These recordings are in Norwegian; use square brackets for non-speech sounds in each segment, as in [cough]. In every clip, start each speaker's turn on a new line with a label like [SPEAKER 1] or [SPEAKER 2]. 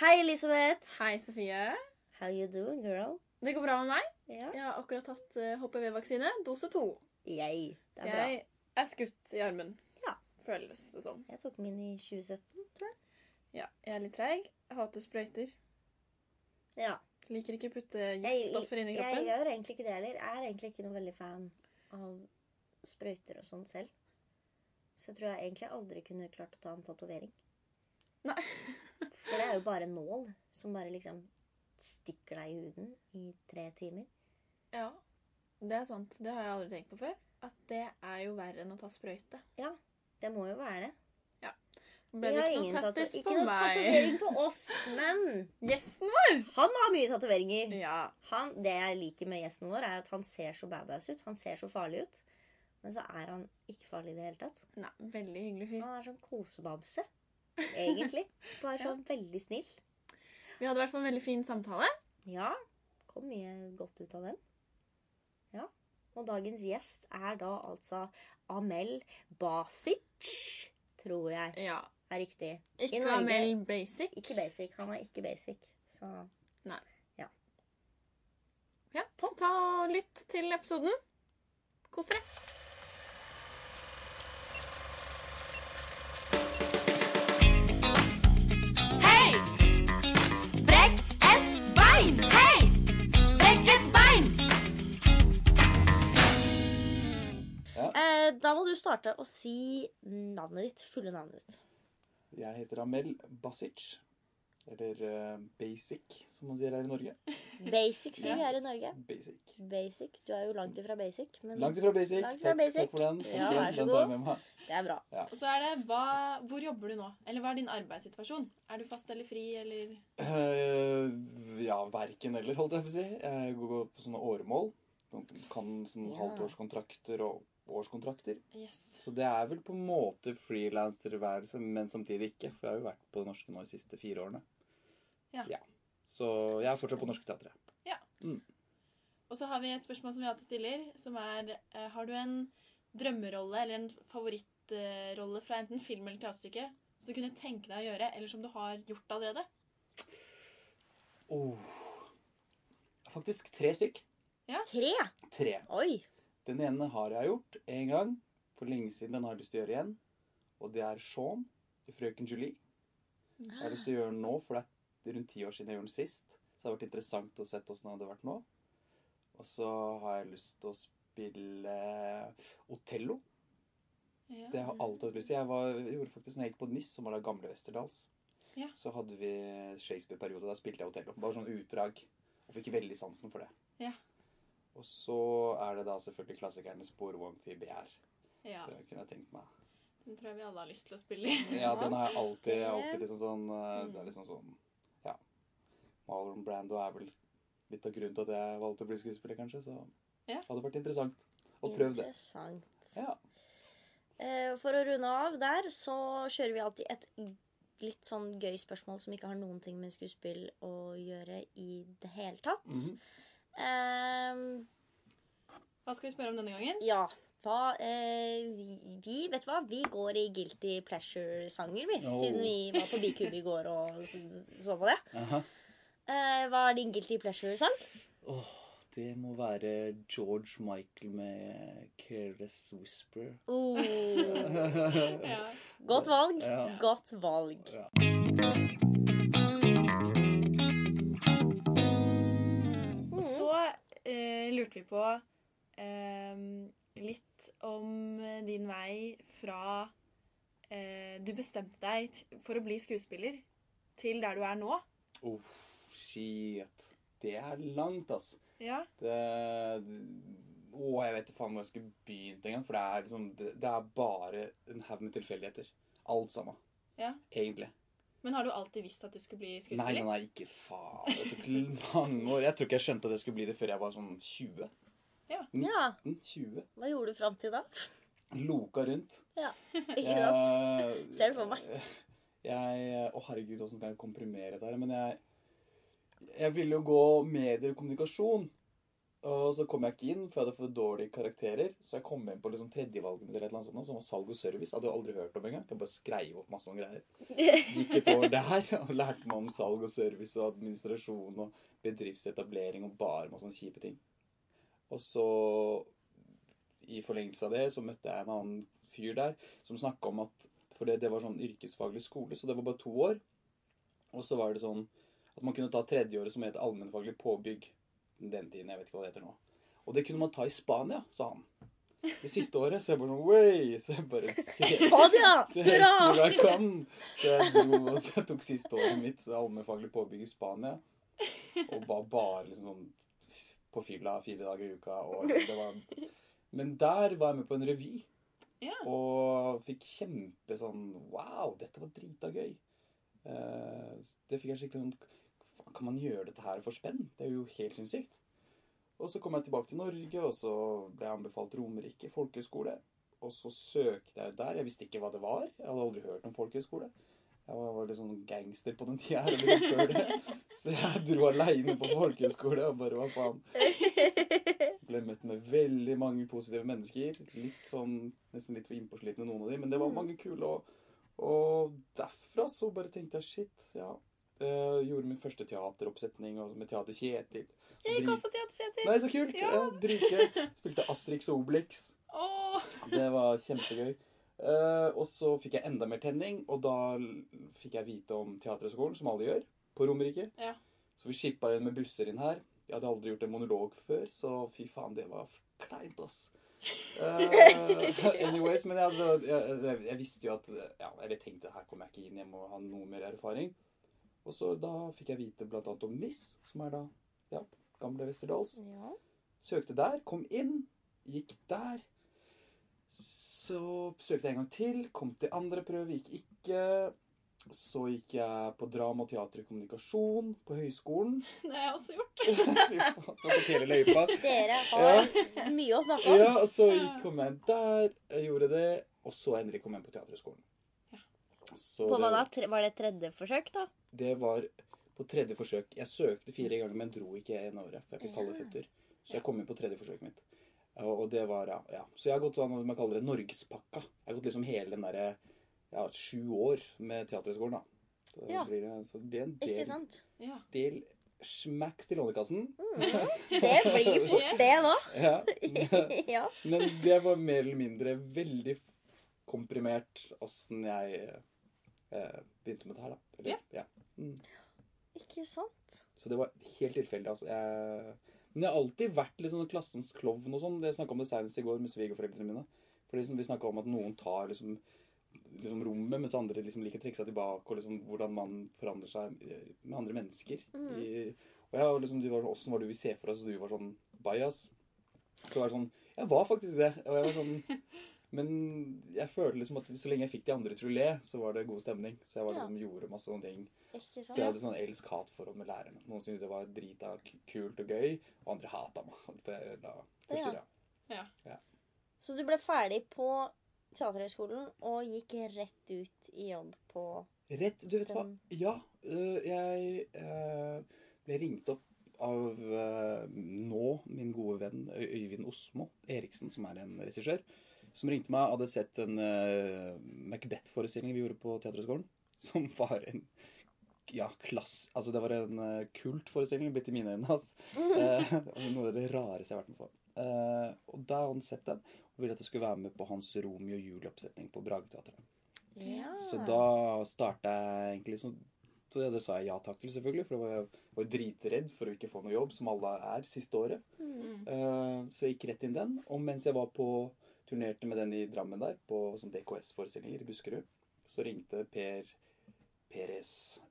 [SPEAKER 1] Hei, Elisabeth.
[SPEAKER 2] Hei, Sofie.
[SPEAKER 1] How you doing, girl?
[SPEAKER 2] Det går bra med meg.
[SPEAKER 1] Ja.
[SPEAKER 2] Jeg har akkurat tatt eh, HPV-vaksine, dose to.
[SPEAKER 1] Yay. Det
[SPEAKER 2] Så
[SPEAKER 1] er bra.
[SPEAKER 2] jeg er skutt i armen.
[SPEAKER 1] Ja.
[SPEAKER 2] Føles det som.
[SPEAKER 1] Jeg tok min i 2017, tror jeg.
[SPEAKER 2] Ja, jeg er litt treig. Jeg hater sprøyter.
[SPEAKER 1] Ja.
[SPEAKER 2] Liker ikke å putte
[SPEAKER 1] Jeg,
[SPEAKER 2] giftstoffer inn i
[SPEAKER 1] jeg
[SPEAKER 2] kroppen.
[SPEAKER 1] gjør egentlig ikke det heller. Jeg er egentlig ikke noe veldig fan av sprøyter og sånn selv. Så jeg tror jeg egentlig aldri kunne klart å ta en tatovering.
[SPEAKER 2] Nei. [laughs]
[SPEAKER 1] For det er jo bare en nål som bare liksom stikker deg i huden i tre timer.
[SPEAKER 2] Ja, det er sant. Det har jeg aldri tenkt på før. At det er jo verre enn å ta sprøyte.
[SPEAKER 1] Det må jo være det.
[SPEAKER 2] Ble
[SPEAKER 1] Vi
[SPEAKER 2] det
[SPEAKER 1] har
[SPEAKER 2] ikke
[SPEAKER 1] ingen
[SPEAKER 2] noe
[SPEAKER 1] tato-
[SPEAKER 2] tattis på
[SPEAKER 1] ikke noe
[SPEAKER 2] meg?
[SPEAKER 1] tatovering på oss, men
[SPEAKER 2] [laughs] Gjesten vår!
[SPEAKER 1] han har mye tatoveringer.
[SPEAKER 2] Ja.
[SPEAKER 1] han, det jeg liker med gjesten vår, er at han ser så badass ut. Han ser så farlig ut. Men så er han ikke farlig i det hele tatt.
[SPEAKER 2] Nei, veldig hyggelig fyr.
[SPEAKER 1] Han er sånn kosebamse, [laughs] egentlig. Bare
[SPEAKER 2] Ja.
[SPEAKER 1] sånn veldig snill.
[SPEAKER 2] Vi hadde i hvert fall en veldig fin samtale.
[SPEAKER 1] Ja, kom mye godt ut av den. Ja. Og dagens gjest er da altså Amel Basic, tror jeg
[SPEAKER 2] Ja.
[SPEAKER 1] er riktig. I
[SPEAKER 2] Ikke
[SPEAKER 1] Norge-
[SPEAKER 2] Amel Basic.
[SPEAKER 1] Ikke basic. Han er ikke basic. Så
[SPEAKER 2] Ja, så ta og lytt til episoden. Kos dere.
[SPEAKER 3] Hei! Brekk et bein! Hei! Brekk et bein!
[SPEAKER 1] eh, Da må du starte å si navnet ditt. Fulle navnet ditt.
[SPEAKER 4] Jeg heter Amel Basic. Eller eh, Basic, som man sier her i Norge.
[SPEAKER 1] Basic, sier vi her i Norge.
[SPEAKER 4] Basic.
[SPEAKER 1] Basic. Du er jo langt ifra basic, men
[SPEAKER 4] Langt ifra basic.
[SPEAKER 1] Langt ifra
[SPEAKER 4] takk,
[SPEAKER 1] basic.
[SPEAKER 4] takk for den.
[SPEAKER 1] Ja,
[SPEAKER 4] Ok,
[SPEAKER 1] vær så
[SPEAKER 4] den tar jeg
[SPEAKER 1] god.
[SPEAKER 4] Med meg.
[SPEAKER 1] det er bra.
[SPEAKER 2] Og så er det, hva, Hvor jobber du nå? Eller hva er din arbeidssituasjon? Er du fast eller fri, eller
[SPEAKER 4] Eh, ja, verken eller, holdt jeg på å si. Jeg går på sånne åremål. Kan sånn
[SPEAKER 1] Ja.
[SPEAKER 4] halvtårskontrakter og årskontrakter.
[SPEAKER 2] Yes.
[SPEAKER 4] Så det er vel på en måte frilanstilværelse, men samtidig ikke. For jeg har jo vært på det norske nå de siste fire årene.
[SPEAKER 2] Ja.
[SPEAKER 4] Så jeg er fortsatt på Norske Teatret.
[SPEAKER 2] Og så har vi et spørsmål som vi alltid stiller, som er eh, Har du en drømmerolle eller en favorittrolle fra enten film eller teaterstykke som du kunne tenke deg å gjøre, eller som du har gjort allerede?
[SPEAKER 4] Oh. Faktisk tre stykk.
[SPEAKER 1] Tre?
[SPEAKER 4] Tre.
[SPEAKER 1] Oi!
[SPEAKER 4] Den ene har jeg gjort én gang for lenge siden. Den har jeg lyst til å gjøre igjen. Og det er Shaun til Frøken Julie. Jeg har lyst til å gjøre den nå, for det er rundt ti år siden jeg gjorde den sist. Så det har vært interessant å se åssen det hadde vært nå. Og så har jeg lyst til å spille Otello.
[SPEAKER 2] Ja.
[SPEAKER 4] Det har jeg alltid hatt lyst til. Jeg, var, jeg gjorde faktisk når jeg gikk på NIS, som var da gamle Westerdals.
[SPEAKER 2] Ja.
[SPEAKER 4] Så hadde vi Shakespeare-periode. Da spilte jeg Otello. Bare sånn utdrag. Og fikk veldig sansen for det.
[SPEAKER 2] Ja.
[SPEAKER 4] Og så er det da selvfølgelig klassikerne 'Sporvogn til begjær'.
[SPEAKER 2] ja.
[SPEAKER 4] Det kunne jeg tenkt meg.
[SPEAKER 2] Den tror jeg vi alle har lyst til å spille i.
[SPEAKER 4] Ja, den har jeg alltid, jeg har
[SPEAKER 1] Det-
[SPEAKER 4] alltid liksom sånn eh,
[SPEAKER 2] Mm.
[SPEAKER 4] Det er liksom sånn Ja. Marlon Brando er vel litt av grunnen til at jeg valgte å bli skuespiller, kanskje. Så
[SPEAKER 2] Ja.
[SPEAKER 4] det hadde vært interessant å prøve det.
[SPEAKER 1] Interessant.
[SPEAKER 4] Ja.
[SPEAKER 1] Eh, For å runde av der, så kjører vi alltid et litt sånn gøy spørsmål som ikke har noen ting med skuespill å gjøre i det hele tatt.
[SPEAKER 4] Mhm.
[SPEAKER 1] Ehm,
[SPEAKER 2] Hva skal vi spørre om denne gangen?
[SPEAKER 1] ja. Hva eh, vi- Vi vet du hva, vi går i guilty pleasure-sanger, vi.
[SPEAKER 4] Oh.
[SPEAKER 1] Siden vi var på Bikube i går og s- så på det.
[SPEAKER 4] Aha.
[SPEAKER 1] Eh, hva er din guilty pleasure-sang?
[SPEAKER 4] Åh, det må være George Michael med 'Careless Whisper'.
[SPEAKER 1] Oh,
[SPEAKER 2] Ja.
[SPEAKER 1] godt valg.
[SPEAKER 4] Ja.
[SPEAKER 1] Godt valg.
[SPEAKER 2] Og så eh, lurte vi på eh, litt om din vei fra eh, du bestemte deg t for å bli skuespiller, til der du er nå.
[SPEAKER 4] Uff, shit. Det er langt, altså.
[SPEAKER 2] Ja.
[SPEAKER 4] Det eh, Å, jeg vet ikke faen hvor jeg skulle begynt engang. For det er liksom Det, det er bare en haug med tilfeldigheter. Alt sammen.
[SPEAKER 2] Ja.
[SPEAKER 4] Egentlig.
[SPEAKER 2] Men har du alltid visst at du skulle bli
[SPEAKER 4] Nei,
[SPEAKER 2] [laughs]
[SPEAKER 4] nei,
[SPEAKER 2] skuespiller?
[SPEAKER 4] nei, ikke faen. Det tok mange år. Jeg tror ikke jeg skjønte at jeg skulle bli det før jeg var sånn 20. Mm.
[SPEAKER 1] Ja,
[SPEAKER 4] 20.
[SPEAKER 1] Hva gjorde du fram til
[SPEAKER 4] [laughs]
[SPEAKER 1] da?
[SPEAKER 4] Loka rundt.
[SPEAKER 1] [laughs] Ikke sant?
[SPEAKER 4] Jeg-
[SPEAKER 1] Ser det for meg.
[SPEAKER 4] Eh, [laughs] Jeg eh, Å, herregud, åssen kan jeg komprimere dette her? Men jeg Jeg ville jo gå medier og kommunikasjon. Og så kom jeg ikke inn, for jeg hadde for dårlige karakterer. Så jeg kom inn på liksom tredjevalget mitt, eller et eller annet sånt, som var salg og service. Hadde jeg aldri hørt om engang. Jeg bare skrev opp masse sånne greier. Gikk et år der og lærte meg om salg og service og administrasjon og bedriftsetablering og bare masse sånne kjipe ting. Og så, i forlengelse av det, så møtte jeg en annen fyr der som snakka om at For det, det var sånn yrkesfaglig skole, så det var bare to år. Og så var det sånn at man kunne ta tredjeåret som het allmennfaglig påbygg. Den tiden, jeg vet ikke hva det heter nå. Og det kunne man ta i Spania, sa han. Det siste året. Så jeg bare sånn Way! Så jeg bare
[SPEAKER 1] Spania!
[SPEAKER 4] så jeg, [laughs]
[SPEAKER 1] Hurra!
[SPEAKER 4] gjorde hva jeg kan. Så jeg, dro, og så jeg tok siste året mitt så allmennfaglig påbygg i Spania. Og var bare liksom sånn på fylla fire dager i uka. Og det var... Men der var jeg med på en revy.
[SPEAKER 2] Ja.
[SPEAKER 4] Og fikk kjempe sånn Wow, dette var drita gøy. Eh, det fikk jeg skikkelig sånn faen, Kan man gjøre dette her for spenn? Det er jo helt sinnssykt. Og så kom jeg tilbake til Norge, og så ble jeg anbefalt Romerike folkehøgskole. Og så søkte jeg ut der. Jeg visste ikke hva det var. Jeg hadde aldri hørt om folkehøgskole. Jeg var, var litt sånn gangster på den tida. her, eller
[SPEAKER 2] [laughs]
[SPEAKER 4] før det. Så jeg dro aleine på folkehøgskole og bare hva faen. Ble møtt med veldig mange positive mennesker. Litt sånn, Nesten litt for innpåslitne noen av de, men det
[SPEAKER 2] Mm.
[SPEAKER 4] var mange kule. Og, og derfra så bare tenkte jeg shit, ja. Eh, gjorde min første teateroppsetning og med Teater Kjetil.
[SPEAKER 2] Jeg gikk
[SPEAKER 4] Drit-
[SPEAKER 2] også til Kjetil.
[SPEAKER 4] Nei, så kult!
[SPEAKER 2] Ja.
[SPEAKER 4] Ja. Dritgøy. Spilte Astrix og Obelix.
[SPEAKER 2] Åh,
[SPEAKER 4] Det var kjempegøy. Eh, og så fikk jeg enda mer tenning, og da l- fikk jeg vite om Teaterhøgskolen, som alle gjør, på Romerike.
[SPEAKER 2] Ja.
[SPEAKER 4] Så vi skippa inn med busser inn her. Jeg hadde aldri gjort en monolog før, så fy faen, det var f- kleint, ass. Eh, [laughs] anyways, men jeg, hadde, jeg, altså, jeg, jeg visste jo at ja, Eller tenkte her kommer jeg ikke inn, jeg må ha noe mer erfaring. Og så da fikk jeg vite blant annet om NIS, som er da ja, gamle Westerdals.
[SPEAKER 1] Ja.
[SPEAKER 4] Søkte der, kom inn, gikk der. Så søkte jeg en gang til, kom til andre prøve, gikk ikke. Så gikk jeg på drama, teater og kommunikasjon på høyskolen. [laughs]
[SPEAKER 2] det har jeg også gjort.
[SPEAKER 4] Fy faen, nå fikk hele løypa.
[SPEAKER 1] Dere har mye å snakke om.
[SPEAKER 4] Ja, og så gikk, kom jeg der, jeg gjorde det, og så endelig kom jeg inn på teaterhøgskolen. Så
[SPEAKER 1] På hva da?
[SPEAKER 4] det,
[SPEAKER 1] Tre- Var det tredje forsøk, da?
[SPEAKER 4] det var på tredje forsøk. Jeg søkte fire ganger, men dro ikke en året, for jeg fikk kalde føtter. Så jeg kom inn på tredje forsøket mitt. Og og det var, ja, ja. Så jeg har gått sånn, hva man kaller det, Norgespakka. Jeg har gått liksom hele den derre ja, sju år med Teaterhøgskolen, da. Så det
[SPEAKER 1] Ja.
[SPEAKER 4] blir, det- så det blir en
[SPEAKER 1] Ikke
[SPEAKER 4] del,
[SPEAKER 1] sant? Mm.
[SPEAKER 2] Ja.
[SPEAKER 4] del smacks til Lånekassen.
[SPEAKER 1] Det blir [laughs] fort det nå.
[SPEAKER 4] Ja.
[SPEAKER 1] [laughs] Ja.
[SPEAKER 4] [laughs] Men det var mer eller mindre veldig komprimert åssen jeg eh, begynte med det her, da. Eller, ja. Mm.
[SPEAKER 1] Ikke sant?
[SPEAKER 4] Så det var helt tilfeldig, altså. Jeg... Men jeg har alltid vært litt sånn klassens klovn og sånn. Jeg snakka om det senest i går med svigerforeldrene mine. For liksom, vi snakka om at noen tar liksom, liksom rommet, mens andre liksom liker å trekke seg tilbake, og liksom hvordan man forandrer seg eh, med andre mennesker.
[SPEAKER 1] Mhm.
[SPEAKER 4] I... Og jeg, var liksom, de var sånn Åssen var det vi ser for oss? Og du var sånn bajas. Så var det sånn Jeg var faktisk det. Og jeg var sånn Men jeg følte liksom at så lenge jeg fikk de andre til å le, så var det god stemning. Så jeg var
[SPEAKER 1] Ja.
[SPEAKER 4] liksom, gjorde masse sånne ting.
[SPEAKER 1] Ikke
[SPEAKER 4] Så jeg
[SPEAKER 1] sant?
[SPEAKER 4] hadde sånn elsk-hat-forhold med lærerne. Noen syntes det var drita k- kult og gøy, og andre hata meg. [laughs] for jeg ødela første
[SPEAKER 1] Ja.
[SPEAKER 4] året.
[SPEAKER 1] Så du ble ferdig på Teaterhøgskolen og gikk rett ut i jobb på
[SPEAKER 4] Rett, du vet hva?
[SPEAKER 1] Den-
[SPEAKER 4] Ja, øh, jeg øh, ble ringt opp av øh, nå min gode venn Øy- Øyvind Osmo Eriksen, som er en regissør, som ringte meg og hadde sett en øh, Macbeth-forestilling vi gjorde på Teaterhøgskolen, som var en ja, klass... Altså, det var en øh, kultforestilling, blitt i mine øyne, altså. Eh, [laughs] noe av det rareste jeg har vært med på. Eh, og da hadde han sett den, og ville at jeg skulle være med på hans Romeo og Julie-oppsetning på Brageteatret.
[SPEAKER 1] Ja.
[SPEAKER 4] Så da starta jeg egentlig sånn så det, det sa jeg ja takk til, selvfølgelig, for jeg var, jeg var dritredd for å ikke få noe jobb, som alle er siste året.
[SPEAKER 1] Mm.
[SPEAKER 4] Eh, så jeg gikk rett inn den. Og mens jeg var på turnerte med den i Drammen der, på sånn DKS-forestillinger i Buskerud, så ringte Per Peres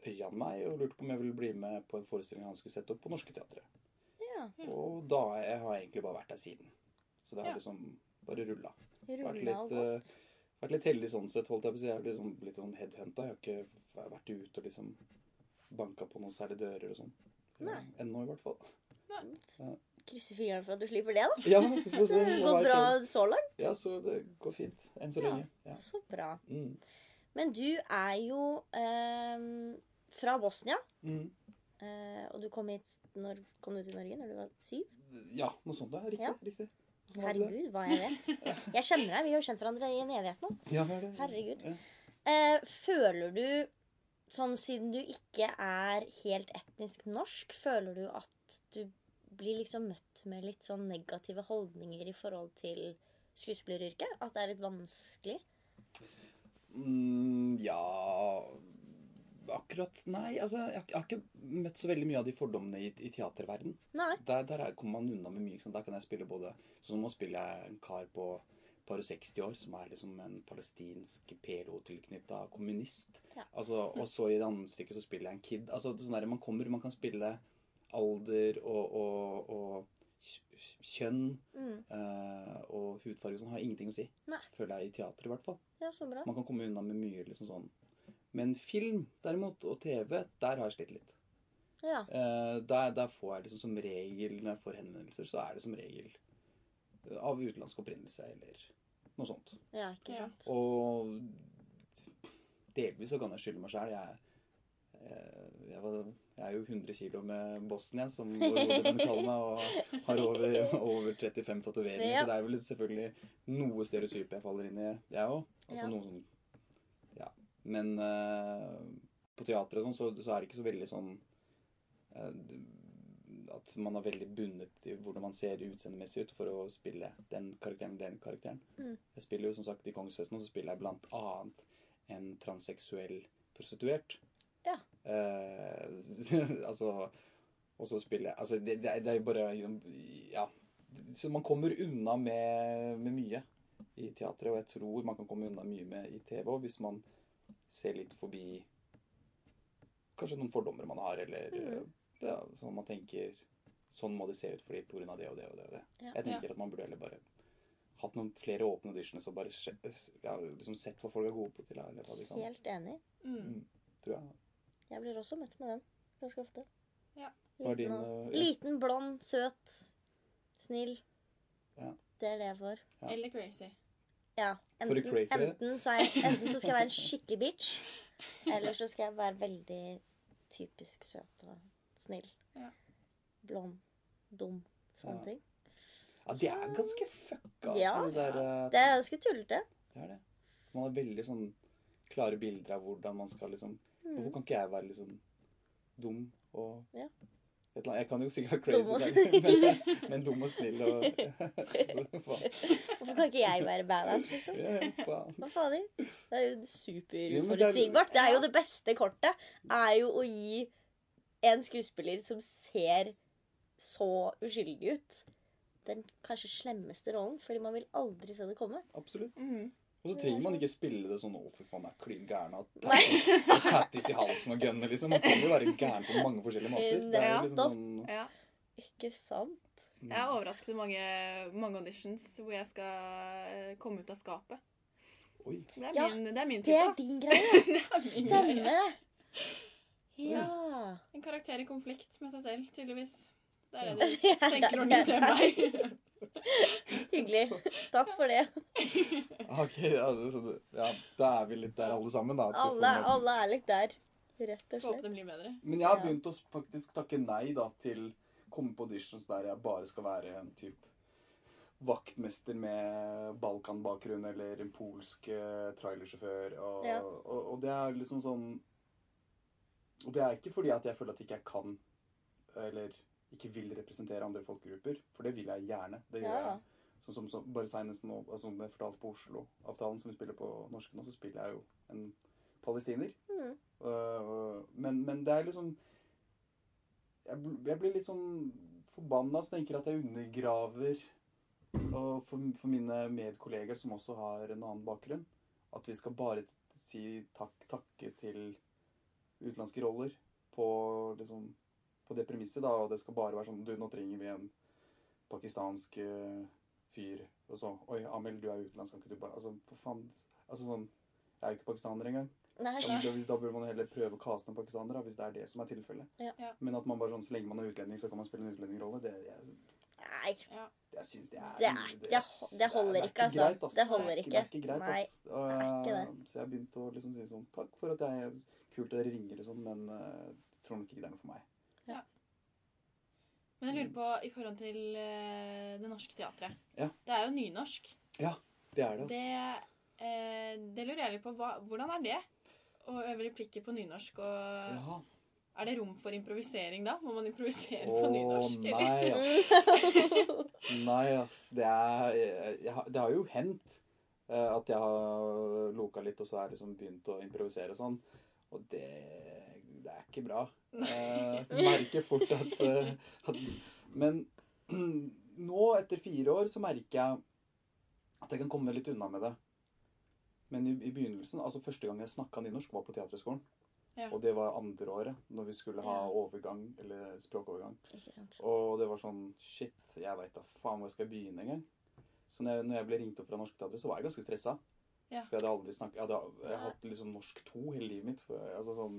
[SPEAKER 4] Øyan meg og lurte på om jeg ville bli med på en forestilling han skulle sette opp på Norsketeatret.
[SPEAKER 1] Ja.
[SPEAKER 4] Og da har jeg har jeg egentlig bare vært der siden. Så det har
[SPEAKER 2] Ja.
[SPEAKER 4] liksom bare rulla. Vært
[SPEAKER 1] Rulla
[SPEAKER 4] litt, eh,
[SPEAKER 1] og gått.
[SPEAKER 4] Vært litt heldig sånn sett, holdt jeg på å si. Jeg er liksom, litt sånn headhunta. Jeg har ikke vært ute og liksom banka på noen særlig dører og sånn.
[SPEAKER 1] Nei.
[SPEAKER 4] Ennå, i hvert fall. [laughs]
[SPEAKER 1] Krysser fingrene for at du slipper det, da.
[SPEAKER 4] eh, Ja, vi får se.
[SPEAKER 1] [laughs] Det
[SPEAKER 4] hva
[SPEAKER 1] går
[SPEAKER 4] vet
[SPEAKER 1] bra
[SPEAKER 4] jeg.
[SPEAKER 1] så langt.
[SPEAKER 4] Ja, så det går fint. Enn så
[SPEAKER 1] Ja.
[SPEAKER 4] lenge. Ja.
[SPEAKER 1] Så bra.
[SPEAKER 4] Mm.
[SPEAKER 1] Men du er jo eh, fra Bosnia.
[SPEAKER 4] Mm.
[SPEAKER 1] Eh, og du kom hit Når kom du til Norge? Når du var syv?
[SPEAKER 4] Ja, noe sånt. da. Riktig.
[SPEAKER 1] Ja.
[SPEAKER 4] riktig. Noe sånt hadde det.
[SPEAKER 1] Herregud, hva jeg
[SPEAKER 4] [laughs]
[SPEAKER 1] vet. Jeg kjenner deg. Vi har jo kjent hverandre i en evighet nå.
[SPEAKER 4] Ja, hva er det?
[SPEAKER 1] Herregud.
[SPEAKER 4] Ja.
[SPEAKER 1] Eh, føler du, sånn siden du ikke er helt etnisk norsk, føler du at du blir liksom møtt med litt sånn negative holdninger i forhold til skuespilleryrket? At det er litt vanskelig?
[SPEAKER 4] Mm, ja Akkurat Nei, altså, jeg, har ikke- jeg har ikke møtt så veldig mye av de fordommene i, i teaterverden.
[SPEAKER 1] Nei.
[SPEAKER 4] Der, der er- kommer man unna med mye. ikke sant? Der kan jeg spille både Sånn som nå spiller jeg en kar på par og 60 år som er liksom en palestinsk PLO-tilknytta kommunist.
[SPEAKER 1] Ja.
[SPEAKER 4] Altså, og så i det andre stykket så spiller jeg en kid. Altså, det er sånn der, man kommer, man kan spille alder og, og, og kj- kjønn
[SPEAKER 1] Mm.
[SPEAKER 4] eh, og hudfarge og sånn har ingenting å si.
[SPEAKER 1] Nei.
[SPEAKER 4] Føler jeg i teater, i hvert fall.
[SPEAKER 1] Ja, så bra.
[SPEAKER 4] Man kan komme unna med mye liksom sånn. Men film derimot, og TV, der har jeg slitt litt.
[SPEAKER 1] Ja.
[SPEAKER 4] Eh, der, der får jeg liksom som regel, når jeg får henvendelser, så er det som regel eh, av utenlandsk opprinnelse eller noe sånt.
[SPEAKER 1] ja ikke
[SPEAKER 2] Ja.
[SPEAKER 1] sant?
[SPEAKER 4] Og delvis så kan jeg skylde meg sjæl. Jeg, eh, jeg, var- jeg er jo 100 kilo med Bosnia, som Rodeland kaller meg, og har over, over 35 tatoveringer.
[SPEAKER 1] Ja.
[SPEAKER 4] Så det er vel selvfølgelig noe stereotyp jeg faller inn i, jeg òg. Altså
[SPEAKER 1] Ja.
[SPEAKER 4] noe sånn Ja. Men eh, på teatret og sånn, så, så er det ikke så veldig sånn eh, at man er veldig bundet til hvordan man ser utseendemessig ut for å spille den karakteren eller den karakteren.
[SPEAKER 1] Mm.
[SPEAKER 4] Jeg spiller jo som sagt i Kongensfesten, og så spiller jeg blant annet en transseksuell prostituert.
[SPEAKER 1] Ja.
[SPEAKER 4] Eh, [laughs] altså Og så spiller jeg Altså, det, det, er- det er jo bare Ja. Så man kommer unna med, med mye i teatret, og jeg tror man kan komme unna mye med i TV òg, hvis man ser litt forbi kanskje noen fordommer man har, eller
[SPEAKER 1] Mhm.
[SPEAKER 4] ja, sånn man tenker Sånn må det se ut for dem pga. det og det og det. og det.
[SPEAKER 1] Ja.
[SPEAKER 4] Jeg tenker at man burde heller bare hatt noen flere åpne auditions og bare sje- ja, liksom sett hva folk er gode på til. Eller hva de kan,
[SPEAKER 1] Helt enig.
[SPEAKER 2] Mm.
[SPEAKER 4] tror jeg.
[SPEAKER 1] Jeg blir også møtt med den ganske ofte.
[SPEAKER 2] Ja.
[SPEAKER 4] Hva er din,
[SPEAKER 1] Liten, og-
[SPEAKER 4] eh, ja.
[SPEAKER 1] liten blond, søt, snill.
[SPEAKER 4] Ja.
[SPEAKER 1] Det er det jeg får.
[SPEAKER 4] Ja.
[SPEAKER 2] Eller crazy.
[SPEAKER 1] Ja.
[SPEAKER 4] For det
[SPEAKER 1] Enten,
[SPEAKER 4] crazy.
[SPEAKER 1] enten, så er, enten så skal jeg være
[SPEAKER 4] [laughs]
[SPEAKER 1] en skikkelig bitch, eller så skal jeg være veldig typisk søt og snill.
[SPEAKER 2] Ja.
[SPEAKER 1] Blond, dum, sånne
[SPEAKER 4] Ja.
[SPEAKER 1] ting.
[SPEAKER 4] eh, Ja, det er ganske fucka, altså.
[SPEAKER 1] Ja.
[SPEAKER 4] Det, der, eh,
[SPEAKER 1] Det er ganske tullete.
[SPEAKER 4] det er det. Så man har veldig sånn klare bilder av hvordan man skal liksom Hvorfor
[SPEAKER 1] Mm.
[SPEAKER 4] kan ikke jeg være liksom dum og
[SPEAKER 1] Ja.
[SPEAKER 4] et eller annet? Jeg kan jo sikkert være
[SPEAKER 1] Dum og
[SPEAKER 4] crazy, [laughs] men, men dum og snill
[SPEAKER 1] [laughs]
[SPEAKER 4] og [laughs] så, faen.
[SPEAKER 1] Hvorfor kan ikke jeg være badass, liksom?
[SPEAKER 4] Ja, faen.
[SPEAKER 1] Hva fader? Det er jo
[SPEAKER 4] Jo, men det er-
[SPEAKER 1] superuforutsigbart. Det er jo det beste kortet. Er jo å gi en skuespiller som ser så uskyldig ut, den kanskje slemmeste rollen, fordi man vil aldri se det komme.
[SPEAKER 4] Absolutt.
[SPEAKER 2] Mm.
[SPEAKER 4] Og så trenger man ikke spille det sånn 'Å, fy faen, jeg er klin gæren' av [laughs]
[SPEAKER 1] Nei.
[SPEAKER 4] tattis i halsen og gunner, liksom. Man kan jo være gæren på mange forskjellige måter.
[SPEAKER 1] [laughs]
[SPEAKER 4] Det er jo liksom
[SPEAKER 1] Nettopp.
[SPEAKER 4] sånn
[SPEAKER 2] Ja.
[SPEAKER 1] Ikke sant?
[SPEAKER 4] Mm.
[SPEAKER 2] Jeg er overrasket i mange, mange auditions hvor jeg skal eh, komme ut av skapet.
[SPEAKER 4] Oi.
[SPEAKER 2] Det er
[SPEAKER 1] Ja,
[SPEAKER 2] min, det er
[SPEAKER 1] [laughs]
[SPEAKER 2] min
[SPEAKER 1] Det er
[SPEAKER 2] type.
[SPEAKER 1] din greie.
[SPEAKER 2] da. Det er min
[SPEAKER 1] Stemmer det. Ja.
[SPEAKER 2] greie. En karakter i konflikt med seg selv, tydeligvis. Det er
[SPEAKER 4] Ja.
[SPEAKER 2] det du tenker
[SPEAKER 1] [laughs]
[SPEAKER 2] når du ser meg.
[SPEAKER 1] Hyggelig. Takk for det.
[SPEAKER 4] Ok, ja, det- så det- ja, da er vi litt der alle sammen, da. at vi får
[SPEAKER 1] Alle,
[SPEAKER 4] med-
[SPEAKER 1] alle er litt der. Rett og
[SPEAKER 2] Får håpe
[SPEAKER 1] slett.
[SPEAKER 2] det blir bedre.
[SPEAKER 4] Men jeg har
[SPEAKER 1] Ja.
[SPEAKER 4] begynt å faktisk takke nei da til komme på auditions der jeg bare skal være en typ vaktmester med Balkan-bakgrunn eller en polsk eh, trailersjåfør. Og,
[SPEAKER 1] Ja.
[SPEAKER 4] og, og det er liksom sånn Og det er ikke fordi at jeg føler at ikke jeg kan eller ikke vil representere andre folkegrupper, for det vil jeg gjerne. Det gjør
[SPEAKER 1] Ja.
[SPEAKER 4] jeg. Sånn som, som bare senest nå, altså som jeg fortalte på Oslo-avtalen som vi spiller på norsk nå, så spiller jeg jo en palestiner.
[SPEAKER 1] Mm.
[SPEAKER 4] Øh, men, men det er liksom jeg, bl- jeg blir litt sånn forbanna så tenker jeg at jeg undergraver og for, for mine medkolleger som også har en annen bakgrunn. At vi skal bare t- si takk, takke til utenlandske roller på, liksom, på det premisset. da, Og det skal bare være sånn Du, nå trenger vi en pakistansk eh, fyr. Og så Oi, Amel, du er utenlandsk. Kan ikke du bare Altså, for faen. Altså sånn Jeg er jo ikke pakistaner engang.
[SPEAKER 1] Nei.
[SPEAKER 4] Ja, men da, da burde man heller prøve å kaste en pakistaner, da, hvis det er det som er tilfellet.
[SPEAKER 1] Ja.
[SPEAKER 2] Ja.
[SPEAKER 4] Men at man bare sånn, så lenge man er utlending, så kan man spille en utlendingrolle, det, jeg,
[SPEAKER 1] Nei.
[SPEAKER 4] jeg syns det er
[SPEAKER 1] Det er- det- det holder
[SPEAKER 4] er
[SPEAKER 1] ikke, altså.
[SPEAKER 4] greit,
[SPEAKER 1] Det holder
[SPEAKER 4] er Det er ikke greit,
[SPEAKER 1] Nei,
[SPEAKER 4] ass. Og,
[SPEAKER 1] det er ikke
[SPEAKER 4] så jeg har begynt å liksom si sånn Takk for at jeg Kult at dere ringer og sånn, men eh, jeg tror nok ikke det er noe for meg.
[SPEAKER 2] Men jeg lurer på i forhold til eh, det norske teatret.
[SPEAKER 4] Ja.
[SPEAKER 2] Det er jo nynorsk.
[SPEAKER 4] Det er det, altså.
[SPEAKER 2] Det, eh, det lurer jeg litt på. Hva, hvordan er det? Å øve replikker på nynorsk og
[SPEAKER 4] Ja.
[SPEAKER 2] Er det rom for improvisering da? Må man improvisere
[SPEAKER 4] Å,
[SPEAKER 2] på nynorsk? Eller?
[SPEAKER 1] [laughs]
[SPEAKER 4] nei, ass. Nei, ass. Det, er, jeg, jeg har- det har jo hendt eh, at jeg har loka litt, og så har jeg liksom begynt å improvisere og sånn. Og det, det er ikke bra. Eh, merker fort at, eh, at Men [clears throat] nå, etter fire år, så merker jeg at jeg kan komme litt unna med det. Men i, i begynnelsen, altså første gang jeg snakka nynorsk, var på Teaterhøgskolen.
[SPEAKER 2] Ja.
[SPEAKER 4] Og det var andre året, når vi skulle ha
[SPEAKER 1] Ja.
[SPEAKER 4] overgang, eller språkovergang.
[SPEAKER 1] Ikke sant.
[SPEAKER 4] Og det var sånn Shit, jeg veit da faen hvor jeg skal begynne engang. Så når jeg, når jeg ble ringt opp fra Norsk Teater, så var jeg ganske stressa.
[SPEAKER 2] Ja.
[SPEAKER 4] For jeg hadde aldri snakket Jeg hadde jeg hadde hatt liksom norsk to hele livet mitt. For, altså sånn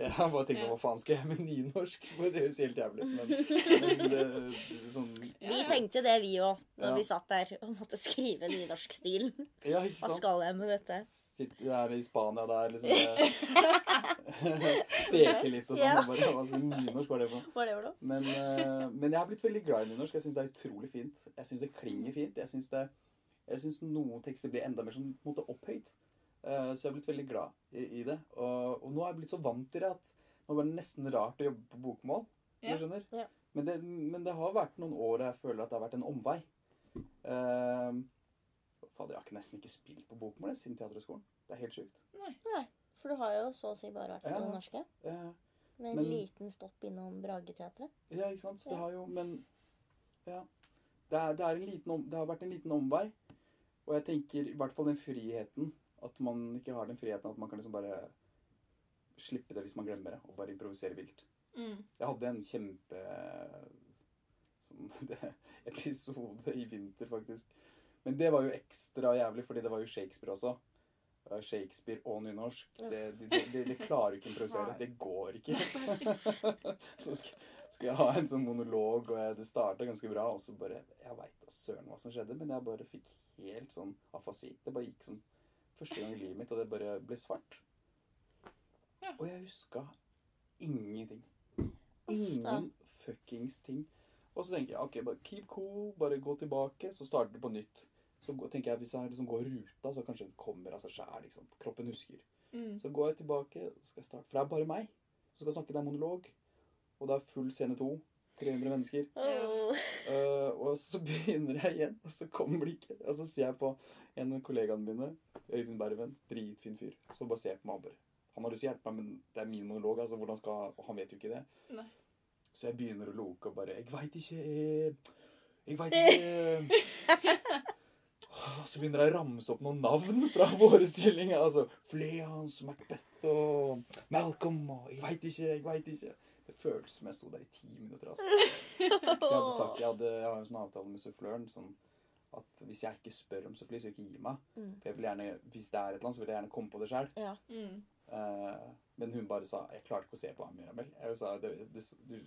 [SPEAKER 4] Jeg har bare tenkt sånn Hva faen skal jeg med nynorsk? [laughs] For Det høres helt jævlig ut, men, men det, det, sånn,
[SPEAKER 2] Ja,
[SPEAKER 1] Vi
[SPEAKER 2] ja.
[SPEAKER 1] tenkte det, vi òg, når
[SPEAKER 4] Ja.
[SPEAKER 1] vi satt der og måtte skrive nynorskstilen.
[SPEAKER 4] Ja, ikke
[SPEAKER 1] Hva
[SPEAKER 4] sant?
[SPEAKER 1] skal jeg med dette?
[SPEAKER 4] Sitter her i Spania der, liksom jeg- [laughs] Steker litt og sånn.
[SPEAKER 1] Ja.
[SPEAKER 4] og Bare, altså, nynorsk var det for noe.
[SPEAKER 1] Hva er det for noe?
[SPEAKER 4] Men, eh, men jeg har blitt veldig glad i nynorsk. Jeg syns det er utrolig fint. Jeg syns det klinger fint. Jeg syns det- jeg syns noen tekster blir enda mer sånn, på en måte, opphøyt. Eh, Så jeg har blitt veldig glad i, i det. Og, og nå har jeg blitt så vant til det at nå var det nesten rart å jobbe på bokmål. om
[SPEAKER 2] Ja.
[SPEAKER 4] Du skjønner?
[SPEAKER 1] Ja.
[SPEAKER 4] Men, det, men det har vært noen år der jeg føler at det har vært en omvei. Eh, Fader, jeg har ikke- nesten ikke spilt på bokmål jeg, siden teaterhøgskolen. Det er helt sjukt.
[SPEAKER 1] For du har jo så å si bare vært på
[SPEAKER 4] Ja.
[SPEAKER 1] det norske.
[SPEAKER 4] Eh,
[SPEAKER 1] Med en
[SPEAKER 4] Men-
[SPEAKER 1] liten stopp innom Brageteatret.
[SPEAKER 4] Ja, ikke sant? Så det
[SPEAKER 1] Ja.
[SPEAKER 4] har jo Men ja. Det, er, det, er en liten om, det har vært en liten omvei. Og jeg tenker i hvert fall den friheten. At man ikke har den friheten at man kan liksom bare slippe det hvis man glemmer det, og bare improvisere vilt.
[SPEAKER 2] Mm.
[SPEAKER 4] Jeg hadde en kjempe sånn, [laughs] det, episode i vinter, faktisk. Men det var jo ekstra jævlig, fordi det var jo Shakespeare også. Eh, Shakespeare og nynorsk. Det, det, det, det, det klarer du ikke å improvisere.
[SPEAKER 2] Nei.
[SPEAKER 4] Det går ikke. Så skal, skal jeg ha en sånn monolog, og jeg, det starta ganske bra, og så bare Jeg veit da søren hva som skjedde, men jeg bare fikk helt sånn afasi. Det bare gikk sånn første gang i livet mitt, og det bare ble svart.
[SPEAKER 2] Ja.
[SPEAKER 4] Og jeg huska ingenting. Ingen fuckings ting. Og så tenker jeg ok, bare keep cool, bare gå tilbake, så starter det på nytt. Så gå- tenker jeg, Hvis jeg liksom går ruta, så kanskje det kommer av seg sjæl. Liksom. Kroppen husker.
[SPEAKER 2] Mm.
[SPEAKER 4] Så går jeg tilbake, så skal jeg starte. For det er bare meg. Så skal jeg snakke, det er monolog. Og det er full scene to. 300 mennesker.
[SPEAKER 1] Åh.
[SPEAKER 4] Eh, og så [laughs] begynner jeg igjen, og så kommer blikket. Og så ser jeg på en av kollegaene mine, Øyvind Berven, dritfin fyr, som bare ser på meg og bare Han har lyst til å hjelpe meg, men det er min monolog, altså. Hvordan skal og Han vet jo ikke det.
[SPEAKER 2] Nei.
[SPEAKER 4] Så jeg begynner å loke og bare Jeg veit ikke eh, Jeg veit ikke eh». Og så begynner jeg å ramse opp noen navn fra [laughs] forestillinga. Altså Fleans, Macbeth og Malcolm og Jeg veit ikke, jeg veit ikke. Det føltes som jeg sto der i ti minutter, altså. Jeg hadde sagt, jeg, hadde, jeg har en sånn avtale med suffløren sånn at hvis jeg ikke spør om suffli, så ikke gi meg.
[SPEAKER 1] Mm.
[SPEAKER 4] For jeg vil gjerne, hvis det er et eller annet, så vil jeg gjerne komme på det sjøl.
[SPEAKER 2] Mm.
[SPEAKER 4] men hun bare sa Jeg klarte ikke å se på deg, Mirabel. Jeg sa, det, det, du,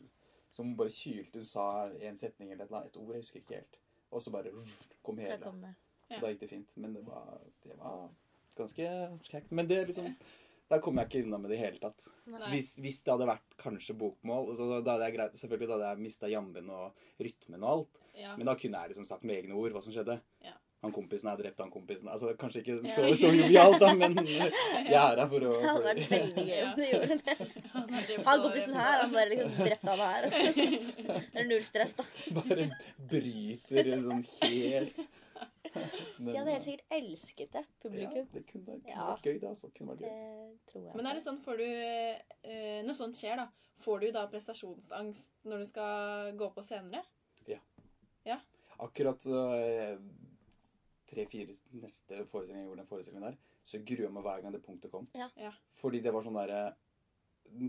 [SPEAKER 4] så hun bare kylte. Hun sa en setning eller et eller annet, et ord, jeg husker ikke helt. Og så bare ruff, kom
[SPEAKER 1] Så
[SPEAKER 4] hele.
[SPEAKER 1] kom det.
[SPEAKER 2] Ja.
[SPEAKER 4] Og Da gikk det fint. Men det var, det var ganske kjekt. Men det liksom Der kom jeg ikke unna med det i hele tatt.
[SPEAKER 2] Nei.
[SPEAKER 4] Hvis, hvis det hadde vært kanskje bokmål, så da hadde jeg greit, selvfølgelig da hadde jeg mista jammen og rytmen og alt.
[SPEAKER 2] Ja.
[SPEAKER 4] Men da kunne jeg liksom sagt med egne ord hva som skjedde.
[SPEAKER 2] Ja.
[SPEAKER 4] Han kompisen er drept, han kompisen Altså kanskje ikke
[SPEAKER 2] Ja.
[SPEAKER 4] så, så jovialt, da,
[SPEAKER 1] [laughs]
[SPEAKER 4] men jeg
[SPEAKER 2] [laughs]
[SPEAKER 4] er her for å
[SPEAKER 1] Det hadde vært veldig gøy om du gjorde det.
[SPEAKER 2] Han har drevet
[SPEAKER 1] Han
[SPEAKER 2] og-
[SPEAKER 1] kompisen her, han bare liksom drepte han her. Altså.
[SPEAKER 2] [laughs]
[SPEAKER 1] Det er null stress, da.
[SPEAKER 4] [laughs] Bare bryter sånn helt
[SPEAKER 1] De
[SPEAKER 4] Men,
[SPEAKER 1] hadde helt sikkert elsket det,
[SPEAKER 4] ja,
[SPEAKER 1] publikum.
[SPEAKER 4] det kunne, kunne
[SPEAKER 1] Ja.
[SPEAKER 4] vært gøy, det. Altså. Kunne vært
[SPEAKER 1] Det
[SPEAKER 4] gøy.
[SPEAKER 1] tror jeg.
[SPEAKER 2] Men er det sånn, får du eh, Når sånt skjer, da, får du da prestasjonsangst når du skal gå på senere?
[SPEAKER 4] Akkurat øh, tre-fire neste forestilling jeg gjorde den forestillingen der, så gruer jeg meg hver gang det punktet kom.
[SPEAKER 1] Ja.
[SPEAKER 2] Ja.
[SPEAKER 4] Fordi det var sånn derre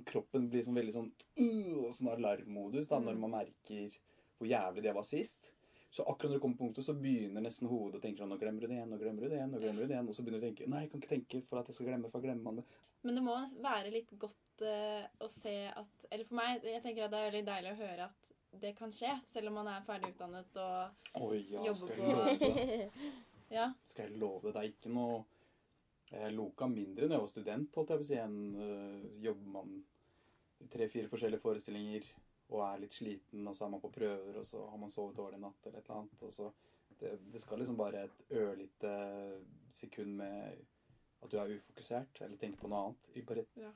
[SPEAKER 4] Kroppen blir sånn veldig sånn «Åh», sånn alarmmodus da,
[SPEAKER 2] Mm.
[SPEAKER 4] når man merker hvor jævlig det var sist. Så akkurat når det kommer på punktet, så begynner nesten hodet å tenke sånn Nå glemmer du det igjen, nå glemmer du det igjen, nå glemmer du det igjen. Og så begynner du å tenke Nei, jeg kan ikke tenke for at jeg skal glemme, for da glemmer man det.
[SPEAKER 2] Men det må være litt godt eh, å se at Eller for meg, jeg tenker at det er veldig deilig å høre at det kan skje, selv om man er ferdig utdannet og
[SPEAKER 4] Oi, ja,
[SPEAKER 2] Jobbe
[SPEAKER 4] skal jeg
[SPEAKER 2] på-
[SPEAKER 4] love deg.
[SPEAKER 2] Ja.
[SPEAKER 4] Skal jeg love deg, det er ikke noe eh, Jeg loka mindre når jeg var student, holdt jeg på å si, enn øh, jobbmann. tre-fire forskjellige forestillinger og er litt sliten, og så er man på prøver, og så har man sovet dårlig i natt eller et eller annet. Og så det, det skal liksom bare et ørlite sekund med at du er ufokusert eller tenker på noe annet. I bare et
[SPEAKER 2] Ja.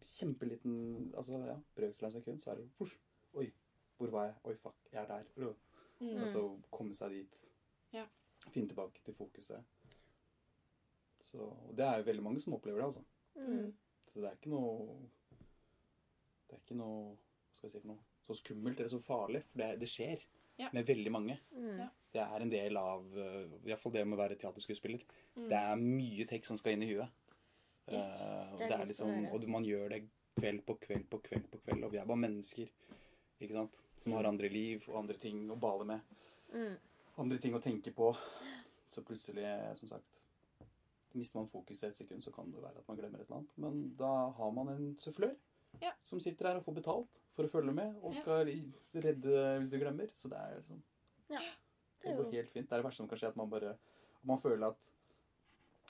[SPEAKER 4] kjempeliten altså ja, brøkdel av et sekund, så er det push, Oi, hvor var jeg? Oi, fuck, jeg er der. Øh.
[SPEAKER 2] Mm.
[SPEAKER 4] Og så komme seg dit.
[SPEAKER 2] Ja.
[SPEAKER 4] Finne tilbake til fokuset. Så, og det er jo veldig mange som opplever det, altså.
[SPEAKER 1] [laughs] Mm.
[SPEAKER 4] Så det er ikke noe Det er ikke noe Hva skal jeg si for noe? Så skummelt eller så farlig, for det, det skjer
[SPEAKER 2] Ja.
[SPEAKER 4] med veldig mange.
[SPEAKER 1] Mm.
[SPEAKER 2] Ja.
[SPEAKER 4] Det er en del av øh, i hvert fall det med å være teaterskuespiller.
[SPEAKER 2] Mm.
[SPEAKER 4] Det er mye tekst som skal inn i huet.
[SPEAKER 1] Yes,
[SPEAKER 4] Eh, og
[SPEAKER 1] det er
[SPEAKER 4] det
[SPEAKER 1] godt å
[SPEAKER 4] er liksom,
[SPEAKER 1] høre.
[SPEAKER 4] og man gjør det kveld på kveld på kveld på kveld. Og vi er bare mennesker ikke sant? som har andre liv og andre ting å bale med.
[SPEAKER 1] Mm.
[SPEAKER 4] Andre ting å tenke på. Så plutselig, som sagt Mister man fokuset et sekund, så kan det være at man glemmer et eller annet. Men da har man en sufflør
[SPEAKER 2] Ja.
[SPEAKER 4] som sitter her og får betalt for å følge med, og skal i- redde hvis du glemmer. Så det er liksom
[SPEAKER 1] Det
[SPEAKER 4] det
[SPEAKER 1] er
[SPEAKER 4] går
[SPEAKER 1] jo
[SPEAKER 4] helt fint. Det er det verste som kan skje, at man bare at Man føler at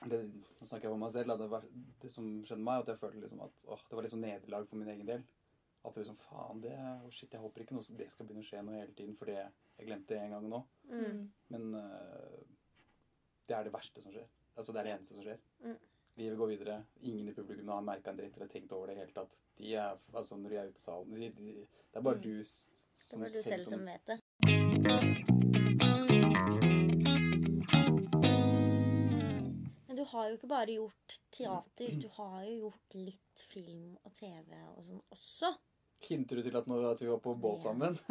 [SPEAKER 4] det, Nå snakker jeg om meg selv. da. Det, ver- det som skjedde meg, at jeg følte liksom at åh, det var liksom nederlag for min egen del. At liksom faen, det åh, Shit, jeg håper ikke noe, det skal begynne å skje noe hele tiden, fordi jeg glemte det en gang nå.
[SPEAKER 1] mm.
[SPEAKER 4] Men øh, det er det verste som skjer. Altså, det er det eneste som skjer.
[SPEAKER 1] Mm.
[SPEAKER 4] Livet går videre. Ingen i publikum har merka en dritt eller tenkt over det i det hele tatt. De er, altså, når de er ute i salen de, de, Det er bare
[SPEAKER 2] Mm.
[SPEAKER 4] du s-
[SPEAKER 1] Det
[SPEAKER 4] som
[SPEAKER 1] var du selv som vet det. Men du har jo ikke bare gjort teater. Du har jo gjort litt film og TV og sånn også.
[SPEAKER 4] Hinter du til at, nå, at vi var på båt
[SPEAKER 1] Ja.
[SPEAKER 4] sammen? [laughs]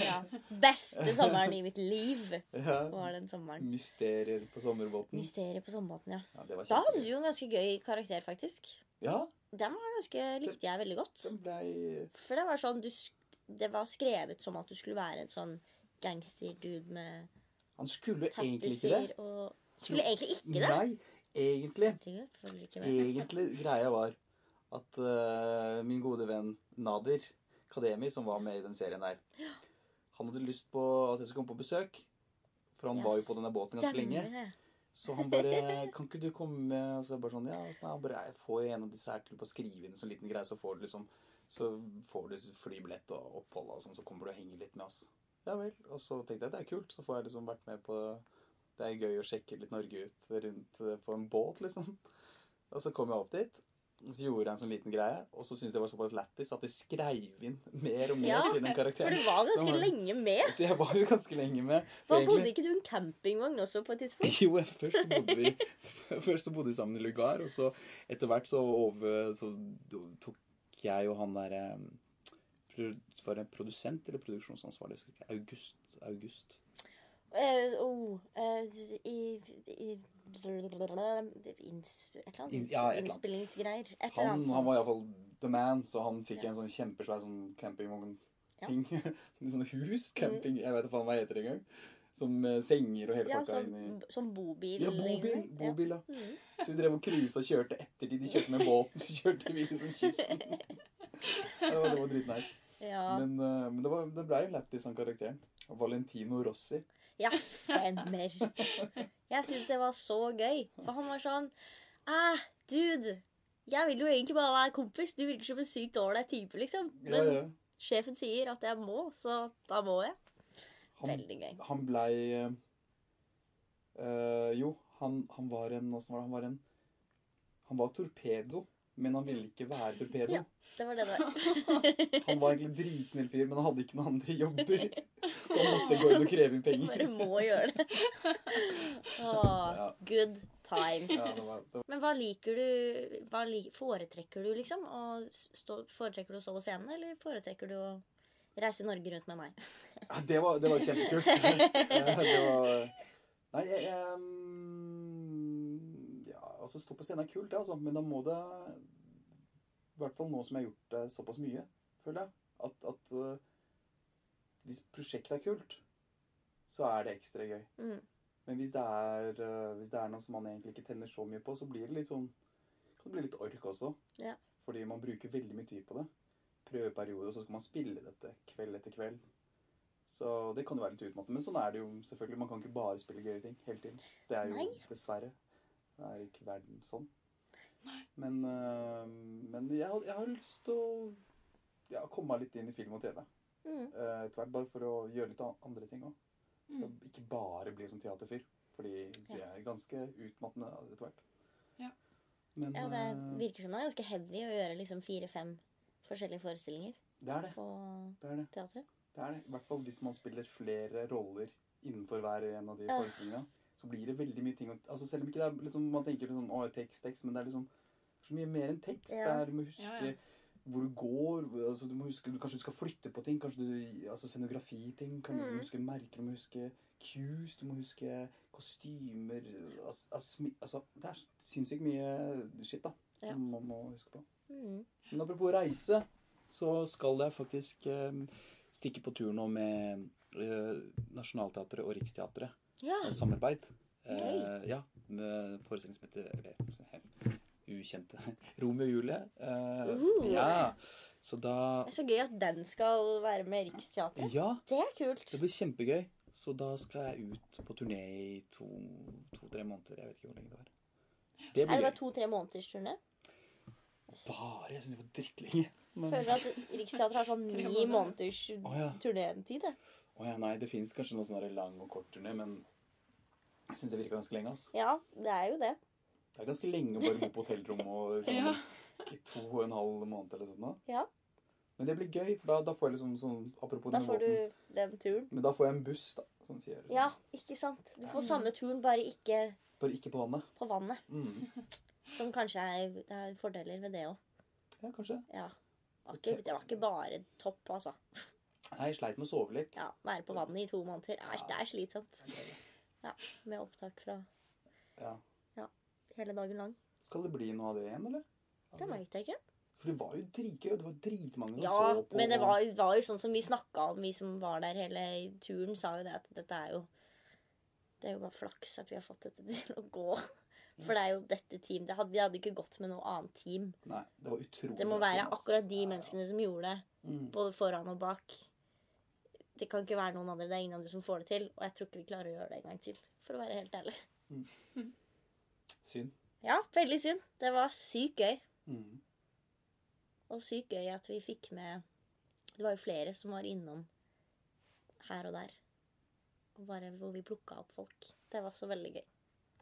[SPEAKER 1] Ja. Beste sommeren i mitt liv
[SPEAKER 4] Ja.
[SPEAKER 1] var den sommeren.
[SPEAKER 4] Mysterier på sommerbåten.
[SPEAKER 1] Mysteriet på sommerbåten, ja.
[SPEAKER 4] Ja, det var
[SPEAKER 1] Da hadde
[SPEAKER 4] kjempegøy.
[SPEAKER 1] du jo en ganske gøy karakter, faktisk.
[SPEAKER 4] Ja,
[SPEAKER 1] Den var ganske, likte jeg veldig godt.
[SPEAKER 4] den blei
[SPEAKER 1] For det var sånn du, sk- Det var skrevet som at du skulle være en sånn gangsterdude med
[SPEAKER 4] Han skulle egentlig ikke det.
[SPEAKER 1] tattiser og Skulle egentlig ikke det?
[SPEAKER 4] Nei, egentlig.
[SPEAKER 1] Herregud, hvorfor vil du ikke [laughs] være-
[SPEAKER 4] Egentlig greia var at øh, min gode venn Nadir Kademi, som var med i den serien der, han hadde lyst på at jeg skulle komme på besøk. For han
[SPEAKER 1] Ja,
[SPEAKER 4] var jo på denne båten ganske lenge.
[SPEAKER 1] Stemmer det.
[SPEAKER 4] Så han bare 'Kan ikke du komme med?' Og så er jeg bare sånn, ja, og sånn, han bare, jeg får jo en av disse her til på å skrive inn en sånn liten greie, så får du liksom Så får du flybillett og opphold og sånn, så kommer du og henger litt med oss. Ja vel. Og så tenkte jeg det er kult, så får jeg liksom vært med på Det er gøy å sjekke litt Norge ut rundt eh, på en båt, liksom. Og så kom jeg opp dit. Og så gjorde jeg en sånn liten greie, og så syntes jeg det var såpass lættis at de skreiv inn mer og mer
[SPEAKER 1] Ja,
[SPEAKER 4] til den
[SPEAKER 1] For
[SPEAKER 4] karakteren.
[SPEAKER 1] du var ganske
[SPEAKER 4] Sånn.
[SPEAKER 1] lenge med.
[SPEAKER 4] Så jeg var jo ganske lenge med. for
[SPEAKER 1] Hva,
[SPEAKER 4] egentlig-
[SPEAKER 1] bodde ikke du i en campingvogn også på et tidspunkt?
[SPEAKER 4] [laughs] jo, jeg- først så bodde vi [laughs] Først så bodde vi sammen i lugar, og så etter hvert så, over, så tok jeg og han der eh, pro- Var det produsent eller produksjonsansvarlig? Jeg husker ikke. August. August.
[SPEAKER 1] Eh, oh, eh, i, i, inns, et eller annet.
[SPEAKER 4] In- ja, et eller annet.
[SPEAKER 1] Innspillingsgreier. Et eller
[SPEAKER 4] Han,
[SPEAKER 1] annet sånt.
[SPEAKER 4] han var iallfall the man, så han fikk
[SPEAKER 1] Ja.
[SPEAKER 4] en sånn kjempesvær sånn [laughs] campingvogn-ting. sånn hus,
[SPEAKER 1] Mm.
[SPEAKER 4] camping, jeg vet ikke faen hva det heter engang. Som eh, senger og hele
[SPEAKER 1] ja,
[SPEAKER 4] pakka
[SPEAKER 1] sånn,
[SPEAKER 4] inni.
[SPEAKER 1] sånn bobil.
[SPEAKER 4] Ja, bobil.
[SPEAKER 1] egentlig. Ja.
[SPEAKER 4] bobil ja.
[SPEAKER 1] Mm.
[SPEAKER 4] Så vi drev og cruisa og kjørte etter de. De kjørte med båten, så kjørte vi liksom kysten. Det var, det var dritnice.
[SPEAKER 1] Ja.
[SPEAKER 4] Men, eh, men det, var, det ble jo lættis, han karakteren. Valentino Rossi.
[SPEAKER 1] ja, stemmer. [laughs] Jeg syns det var så gøy. For han var sånn Æh, dude. Jeg vil jo egentlig bare være kompis. Du virker som en sykt ålreit type, liksom.
[SPEAKER 4] Ja,
[SPEAKER 1] Men
[SPEAKER 4] ja.
[SPEAKER 1] sjefen sier at jeg må, så da må jeg.
[SPEAKER 4] Han,
[SPEAKER 1] Veldig gøy.
[SPEAKER 4] han blei eh, eh, Jo, han, han var en Åssen var det? Han var en Han var torpedo, men han ville ikke være torpedo.
[SPEAKER 1] Ja. Det var det det var.
[SPEAKER 4] Han var egentlig en dritsnill fyr, men han hadde ikke noen andre jobber. Så han måtte gå inn og kreve inn
[SPEAKER 1] Jeg [laughs] bare
[SPEAKER 4] penger.
[SPEAKER 1] må gjøre
[SPEAKER 4] [laughs]
[SPEAKER 1] det. Åh,
[SPEAKER 4] Ja.
[SPEAKER 1] good
[SPEAKER 4] Ja, det
[SPEAKER 1] times.
[SPEAKER 4] var, det var.
[SPEAKER 1] Men hva liker du hva li Foretrekker du liksom å stå, Foretrekker du å stå på scenen, eller foretrekker du å reise Norge rundt med meg?
[SPEAKER 4] Ja, det var, det var
[SPEAKER 1] [laughs]
[SPEAKER 4] kjempekult. Eh, det var Nei, jeg, jeg mm, Ja, altså, stå på scenen er kult, det, altså. Men da må det I hvert fall nå som jeg har gjort det såpass mye, føler jeg, at, at eh, hvis prosjektet er kult, så er det ekstra gøy.
[SPEAKER 1] Mm.
[SPEAKER 4] Men hvis det, er, øh, hvis det er noe som man egentlig ikke tenner så mye på, så blir det litt sånn kan det bli litt ork også.
[SPEAKER 1] Ja.
[SPEAKER 4] Fordi man bruker veldig mye tid på det. Prøveperiode, og så skal man spille dette kveld etter kveld. Så det kan jo være litt utmattende. Men sånn er det jo selvfølgelig. Man kan ikke bare spille gøye ting hele tiden. Det er jo
[SPEAKER 1] Nei.
[SPEAKER 4] dessverre. Det er ikke verden sånn. Men, øh, men jeg, hadde- jeg har lyst til å ja, komme meg litt inn i film og TV.
[SPEAKER 1] Mm.
[SPEAKER 4] eh, etter hvert, bare for å gjøre litt an- andre ting òg. [laughs]
[SPEAKER 2] Mm. [laughs]
[SPEAKER 4] Ikke bare bli som teaterfyr, fordi det er ganske utmattende etter hvert.
[SPEAKER 2] Ja.
[SPEAKER 4] Men
[SPEAKER 1] Ja, det
[SPEAKER 4] eh,
[SPEAKER 1] virker som det er ganske heavy å gjøre liksom fire-fem forskjellige forestillinger
[SPEAKER 4] det er det.
[SPEAKER 1] på
[SPEAKER 4] Det er det.
[SPEAKER 1] teatret.
[SPEAKER 4] Det er det. I hvert fall hvis man spiller flere roller innenfor hver en av de
[SPEAKER 1] Ja.
[SPEAKER 4] forestillingene. Så blir det veldig mye ting å altså Selv om ikke det er liksom, man tenker liksom, å, tekst, tekst, men det er liksom så mye mer enn tekst. Det
[SPEAKER 1] Ja.
[SPEAKER 4] er, du må huske
[SPEAKER 2] Ja, ja.
[SPEAKER 4] hvor du går. hvor- Altså, du må huske, du, kanskje du skal flytte på ting. Kanskje du, altså Scenografiting. Kan Du
[SPEAKER 1] Mm.
[SPEAKER 4] må huske merker, du må huske cues, du må huske kostymer altså, altså, smi- altså, Det er sinnssykt mye shit da, som
[SPEAKER 1] Ja.
[SPEAKER 4] man må huske på.
[SPEAKER 1] Mm.
[SPEAKER 4] Men apropos reise, så skal jeg faktisk eh, stikke på tur nå med eh, Nationaltheatret og Riksteatret.
[SPEAKER 1] Ja.
[SPEAKER 4] Og samarbeid. Eh,
[SPEAKER 1] Gøy.
[SPEAKER 4] ja, med forestilling som heter eller, Ukjente. [laughs] Romeo og Julie. Eh,
[SPEAKER 1] Uh.
[SPEAKER 4] Ja. Så da
[SPEAKER 1] Det er så gøy at den skal være med Riksteatret.
[SPEAKER 4] Ja,
[SPEAKER 1] Det er kult.
[SPEAKER 4] det blir kjempegøy. Så da skal jeg ut på turné i to-tre måneder. Jeg vet ikke hvor lenge det var. Det
[SPEAKER 1] Er det
[SPEAKER 4] blir
[SPEAKER 1] bare
[SPEAKER 4] gøy.
[SPEAKER 1] to-tre måneders turné?
[SPEAKER 4] Bare? Jeg syns det var drittlenge. Men-
[SPEAKER 1] Føler at Riksteatret har sånn
[SPEAKER 2] Tre
[SPEAKER 1] ni
[SPEAKER 2] måneder.
[SPEAKER 1] måneders
[SPEAKER 4] Å, ja.
[SPEAKER 1] turnétid. jeg.
[SPEAKER 4] Å ja, nei, det finnes kanskje noen sånne lang og kort turné, men jeg syns det virker ganske lenge. altså. ass.
[SPEAKER 1] Ja, det er jo det.
[SPEAKER 4] Det er ganske lenge å bare bo på hotellrom og sånn,
[SPEAKER 2] Ja.
[SPEAKER 4] i to og en halv måned eller sånt. nå.
[SPEAKER 1] Ja.
[SPEAKER 4] Men det blir gøy, for da, da får jeg liksom sånn Apropos
[SPEAKER 1] Da
[SPEAKER 4] den
[SPEAKER 1] får du
[SPEAKER 4] båten.
[SPEAKER 1] den turen.
[SPEAKER 4] Men da får jeg en buss, da, som sier sånn,
[SPEAKER 1] Ja, ikke sant? Du får
[SPEAKER 2] Ja.
[SPEAKER 1] samme turen, bare ikke
[SPEAKER 4] Bare ikke på vannet.
[SPEAKER 1] på vannet.
[SPEAKER 4] Mm.
[SPEAKER 1] Som kanskje er, det er fordeler ved det òg.
[SPEAKER 4] Ja, kanskje.
[SPEAKER 1] Ja. Det var ikke- Det var ikke bare topp, altså.
[SPEAKER 4] Nei, jeg sleit med å sove litt.
[SPEAKER 1] Ja, Være på vannet i to måneder, Æsj, det er slitsomt. Med opptak fra
[SPEAKER 4] Ja.
[SPEAKER 1] hele dagen lang.
[SPEAKER 4] Skal det bli noe av det igjen, eller?
[SPEAKER 1] Det veit jeg ikke.
[SPEAKER 4] For det var jo dritgøy. og Det var dritmange som
[SPEAKER 1] Ja,
[SPEAKER 4] så på.
[SPEAKER 1] men det
[SPEAKER 4] og-
[SPEAKER 1] var, var jo sånn som vi snakka om, vi som var der hele turen, sa jo det at dette er jo Det er jo bare flaks at vi har fått dette til å gå. For det er jo dette team. Det hadde, vi hadde ikke gått med noe annet team.
[SPEAKER 4] Nei, det var utrolig
[SPEAKER 1] Det må
[SPEAKER 4] bra
[SPEAKER 1] være
[SPEAKER 4] film, ass.
[SPEAKER 1] akkurat de
[SPEAKER 4] Ja, ja.
[SPEAKER 1] menneskene som gjorde det,
[SPEAKER 4] Mm.
[SPEAKER 1] både foran og bak. Det kan ikke være noen andre. Det er ingen andre som får det til. Og jeg tror ikke vi klarer å gjøre det en gang til, for å være helt ærlig.
[SPEAKER 4] Synd.
[SPEAKER 1] Ja, veldig synd. Det var sykt gøy.
[SPEAKER 4] Mm.
[SPEAKER 1] Og sykt gøy at vi fikk med Det var jo flere som var innom her og der. Og bare hvor vi plukka opp folk. Det var så veldig gøy.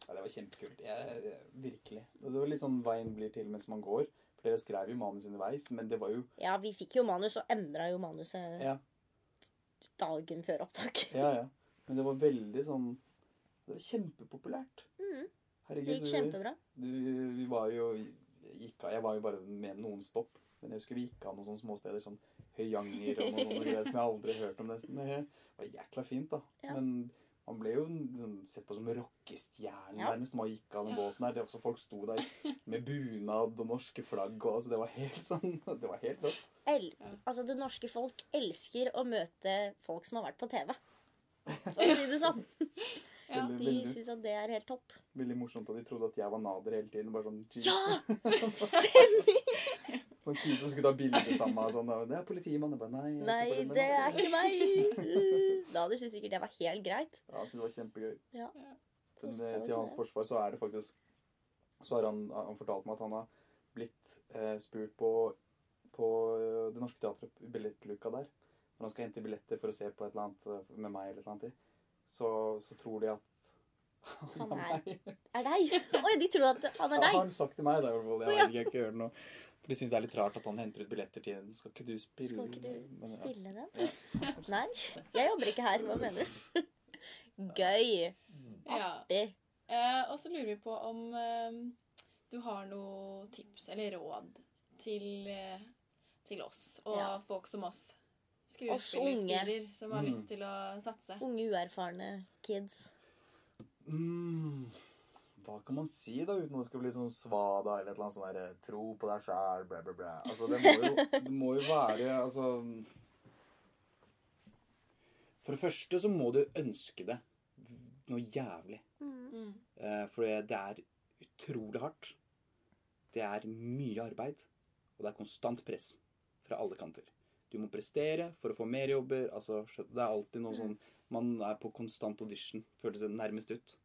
[SPEAKER 4] Ja, det var kjempekult. Jeg, jeg, virkelig. Og Det var litt sånn veien blir til mens man går. For dere skrev jo manus underveis, men det var jo
[SPEAKER 1] Ja, vi fikk jo manus, og endra jo manuset
[SPEAKER 4] Ja,
[SPEAKER 1] dagen før opptak.
[SPEAKER 4] ja. ja. Men det var veldig sånn Det var kjempepopulært.
[SPEAKER 1] Mhm. Det
[SPEAKER 4] Herregud,
[SPEAKER 1] gikk
[SPEAKER 4] du,
[SPEAKER 1] kjempebra.
[SPEAKER 4] du, vi var jo gikk, av- Jeg var jo bare med noen stopp. Men jeg husker vi gikk av noen sånne småsteder. Sånn Høyanger og noen sånne greier som jeg aldri har hørt om, nesten. Det var jækla fint, da.
[SPEAKER 1] Ja.
[SPEAKER 4] Men man ble jo sånn, sett på som rockestjerne
[SPEAKER 1] Ja.
[SPEAKER 4] nærmest når man gikk av den
[SPEAKER 2] Ja.
[SPEAKER 4] båten her. Det var så Folk sto der med bunad og norske flagg og altså, Det var helt sånn [laughs] Det var helt rått.
[SPEAKER 1] El
[SPEAKER 2] Ja.
[SPEAKER 1] altså, det norske folk elsker å møte folk som har vært på TV. For å si det sånn.
[SPEAKER 2] Ja,
[SPEAKER 4] Veldig,
[SPEAKER 1] De
[SPEAKER 4] veldig,
[SPEAKER 1] syns at det er helt topp.
[SPEAKER 4] veldig morsomt at de trodde at jeg var nader hele tiden. Bare sånn Jesus.
[SPEAKER 1] Ja! Stemmer!
[SPEAKER 4] Sånn kis som skulle ta bilde sammen med meg, sånn, og Det er politimann. Jeg bare nei. jeg er ikke
[SPEAKER 1] Nei,
[SPEAKER 4] politimann.
[SPEAKER 1] det er ikke meg. Nader syntes sikkert det var helt greit.
[SPEAKER 4] Ja, jeg synes det var kjempegøy.
[SPEAKER 1] Ja.
[SPEAKER 4] Men eh, til hans forsvar så er det faktisk Så har han, han fortalt meg at han har blitt eh, spurt på, på eh, Det Norske Teatret, i billettluka der, når han skal hente billetter for å se på et eller annet eh, med meg eller et eller annet i, så, så tror de at [laughs]
[SPEAKER 1] Han er-
[SPEAKER 4] meg.
[SPEAKER 1] Er deg? [laughs] Oi, de tror at han er
[SPEAKER 4] Ja,
[SPEAKER 1] deg.
[SPEAKER 4] har han sagt til meg, da, i hvert fall. Jeg vet ikke, jeg ikke hører det nå. For de syns det er litt rart at han henter ut billetter til en. Skal ikke du spille
[SPEAKER 1] Skal ikke du
[SPEAKER 4] Men, ja.
[SPEAKER 1] spille den? [laughs] Nei, jeg jobber ikke her. Hva mener du? [laughs] Gøy.
[SPEAKER 2] ja.
[SPEAKER 1] Det.
[SPEAKER 2] Eh, og så lurer vi på om eh, du har noen tips eller råd til, eh, til oss og
[SPEAKER 1] Ja.
[SPEAKER 2] folk som oss.
[SPEAKER 1] Oss unge.
[SPEAKER 2] Skuespillerspiller som har
[SPEAKER 4] Mm.
[SPEAKER 2] lyst til å satse.
[SPEAKER 1] Unge, uerfarne kids.
[SPEAKER 4] Mm. Hva kan man si da, uten at det skal bli sånn svada eller et eller annet sånn derre Tro på deg sjæl, blæ, blæ, blæ. Altså, det må jo, det må jo være Altså For det første så må du ønske det noe jævlig.
[SPEAKER 2] Mm.
[SPEAKER 4] Eh, For det er utrolig hardt. Det er mye arbeid, og det er konstant press fra alle kanter. Du må prestere for å få mer jobber. Altså, skjø- det er alltid noe sånn Man er på konstant audition, føles det nærmest ut.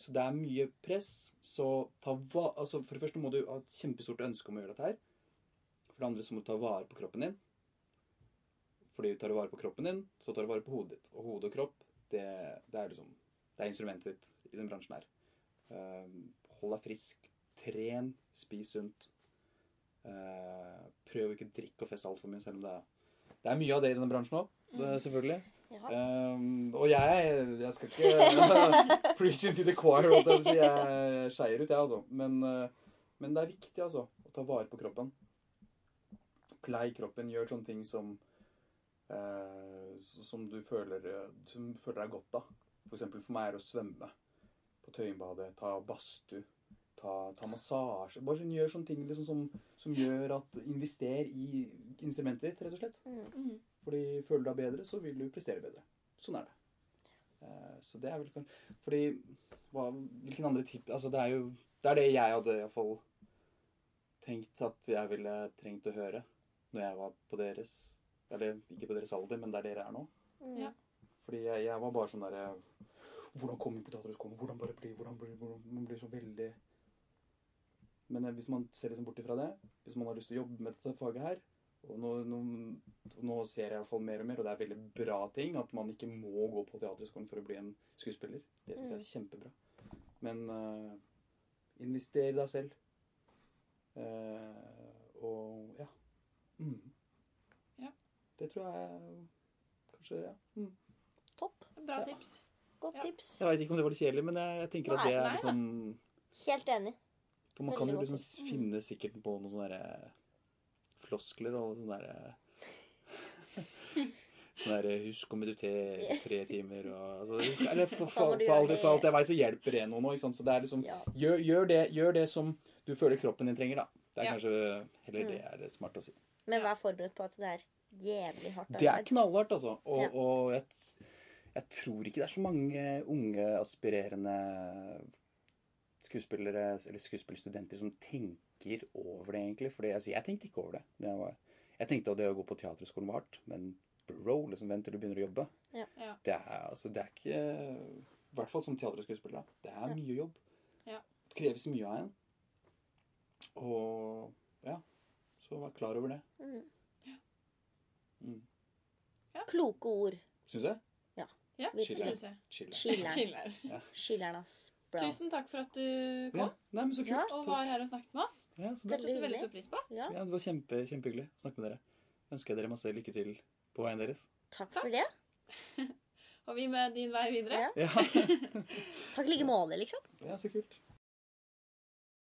[SPEAKER 4] Så det er mye press. Så ta hva Altså, for det første må du ha et kjempestort ønske om å gjøre dette her. For det andre så må du ta vare på kroppen din. Fordi tar du vare på kroppen din, så tar du vare på hodet ditt. Og hode og kropp, det, det er liksom Det er instrumentet ditt i den bransjen her. Ehm, hold deg frisk. Tren. Spis sunt. Ehm, prøv å ikke drikke og feste altfor mye, selv om det er Det er mye av det i denne bransjen òg, selvfølgelig.
[SPEAKER 1] Ja.
[SPEAKER 4] Ehm, og jeg Jeg skal ikke [laughs] preach into the choir. holdt Jeg, på å si. jeg skeier ut, jeg, altså. Men, eh, men det er viktig altså, å ta vare på kroppen. Plei kroppen. Gjør sånne ting som eh, s- som du føler, eh, som du føler deg godt av. For eksempel for meg er det å svømme på Tøyenbadet, ta badstue, ta, ta massasje. Bare sånn, gjør sånne ting liksom, som, som gjør at Invester i instrumentet ditt, rett og slett.
[SPEAKER 2] Mm.
[SPEAKER 4] Fordi føler du deg bedre, så vil du prestere bedre. Sånn er det. Eh, Så det er vel kanskje Fordi hva, Hvilken andre tipp Altså, det er jo Det er det jeg hadde iallfall tenkt at jeg ville trengt å høre når jeg var på deres Eller ikke på deres alder, men der dere er nå.
[SPEAKER 1] Mm.
[SPEAKER 2] Ja.
[SPEAKER 4] Fordi jeg, jeg var bare sånn derre Hvordan komme inn på Teaterhøgskolen? Hvordan bare bli? Hvordan bli? Hvordan, man blir så veldig Men eh, hvis man ser liksom bort ifra det, hvis man har lyst til å jobbe med dette faget her og nå, nå, nå ser jeg i hvert fall mer og mer, og det er veldig bra ting, at man ikke må gå på teaterskolen for å bli en skuespiller. Det syns jeg er kjempebra. Men eh, invester i deg selv. Eh, og ja. Mm.
[SPEAKER 2] Ja.
[SPEAKER 4] Det tror jeg kanskje Ja. Mm.
[SPEAKER 1] Topp.
[SPEAKER 2] Mm. Bra
[SPEAKER 4] Ja.
[SPEAKER 2] tips.
[SPEAKER 1] Godt
[SPEAKER 2] Ja.
[SPEAKER 1] tips.
[SPEAKER 4] Jeg veit ikke om det var litt kjedelig, men jeg, jeg tenker at
[SPEAKER 1] Nei,
[SPEAKER 4] det er
[SPEAKER 2] nei,
[SPEAKER 4] liksom
[SPEAKER 1] Helt enig.
[SPEAKER 4] for Man kan
[SPEAKER 1] Veldig
[SPEAKER 4] jo
[SPEAKER 1] godt
[SPEAKER 4] liksom
[SPEAKER 1] tips.
[SPEAKER 2] Mm.
[SPEAKER 4] finne sikkert på noen sånne der, eh, floskler og sånne der [laughs] Sånn der 'husk å meditere tre timer' og altså, eller for,
[SPEAKER 1] Og så må
[SPEAKER 4] for,
[SPEAKER 1] du
[SPEAKER 4] for, alt,
[SPEAKER 1] gjøre det.
[SPEAKER 4] for alt jeg veit, så hjelper det noen òg. ikke sant? Så det er liksom
[SPEAKER 1] Ja.
[SPEAKER 4] gjør, gjør, det, gjør det som du føler kroppen din trenger, da. Det er
[SPEAKER 2] Ja.
[SPEAKER 4] kanskje
[SPEAKER 1] Mm.
[SPEAKER 4] heller det er det smarte å si.
[SPEAKER 1] Men
[SPEAKER 2] Ja.
[SPEAKER 1] vær forberedt på at det er jævlig hardt
[SPEAKER 4] Det er
[SPEAKER 1] arbeid.
[SPEAKER 4] knallhardt, altså. Og,
[SPEAKER 1] Ja.
[SPEAKER 4] og jeg, t- jeg tror ikke det er så mange unge, aspirerende skuespillere eller skuespillerstudenter som tenker over det, egentlig. Fordi, altså, jeg tenkte ikke over det. da jeg, var, jeg tenkte at det å gå på teaterskolen var hardt, men bro, liksom, vent til du begynner å jobbe.
[SPEAKER 1] Ja.
[SPEAKER 2] Ja.
[SPEAKER 4] Det, er, altså, det er ikke I hvert fall som teater- og skuespiller. da. Det er
[SPEAKER 1] Ja.
[SPEAKER 4] mye jobb.
[SPEAKER 2] Ja.
[SPEAKER 4] Det kreves mye av en. Og ja, så vær klar over det.
[SPEAKER 1] Mm.
[SPEAKER 4] Mm.
[SPEAKER 1] Kloke ord.
[SPEAKER 4] Syns jeg.
[SPEAKER 2] Ja, det
[SPEAKER 1] Virkelig.
[SPEAKER 2] syns jeg.
[SPEAKER 4] Chill.
[SPEAKER 1] Chiller'n.
[SPEAKER 2] Chiller'n.
[SPEAKER 1] Chiller'n, ass. Bra.
[SPEAKER 2] Tusen takk for at du
[SPEAKER 4] Ja.
[SPEAKER 2] kom
[SPEAKER 4] Nei, men så kult.
[SPEAKER 1] Ja.
[SPEAKER 2] og
[SPEAKER 4] Takk.
[SPEAKER 2] var her og snakket med oss.
[SPEAKER 4] Ja, så
[SPEAKER 2] Det
[SPEAKER 4] bra.
[SPEAKER 1] Veldig
[SPEAKER 2] setter vi
[SPEAKER 1] hyggelig.
[SPEAKER 2] veldig stor pris på.
[SPEAKER 1] Ja,
[SPEAKER 4] Ja, det var kjempe, kjempehyggelig å snakke med dere. Ønsker jeg dere masse lykke til på veien deres.
[SPEAKER 1] takk for det.
[SPEAKER 2] Og vi med din vei videre.
[SPEAKER 1] Ja.
[SPEAKER 4] Ja,
[SPEAKER 1] Takk i like måte, liksom.
[SPEAKER 4] ja så kult.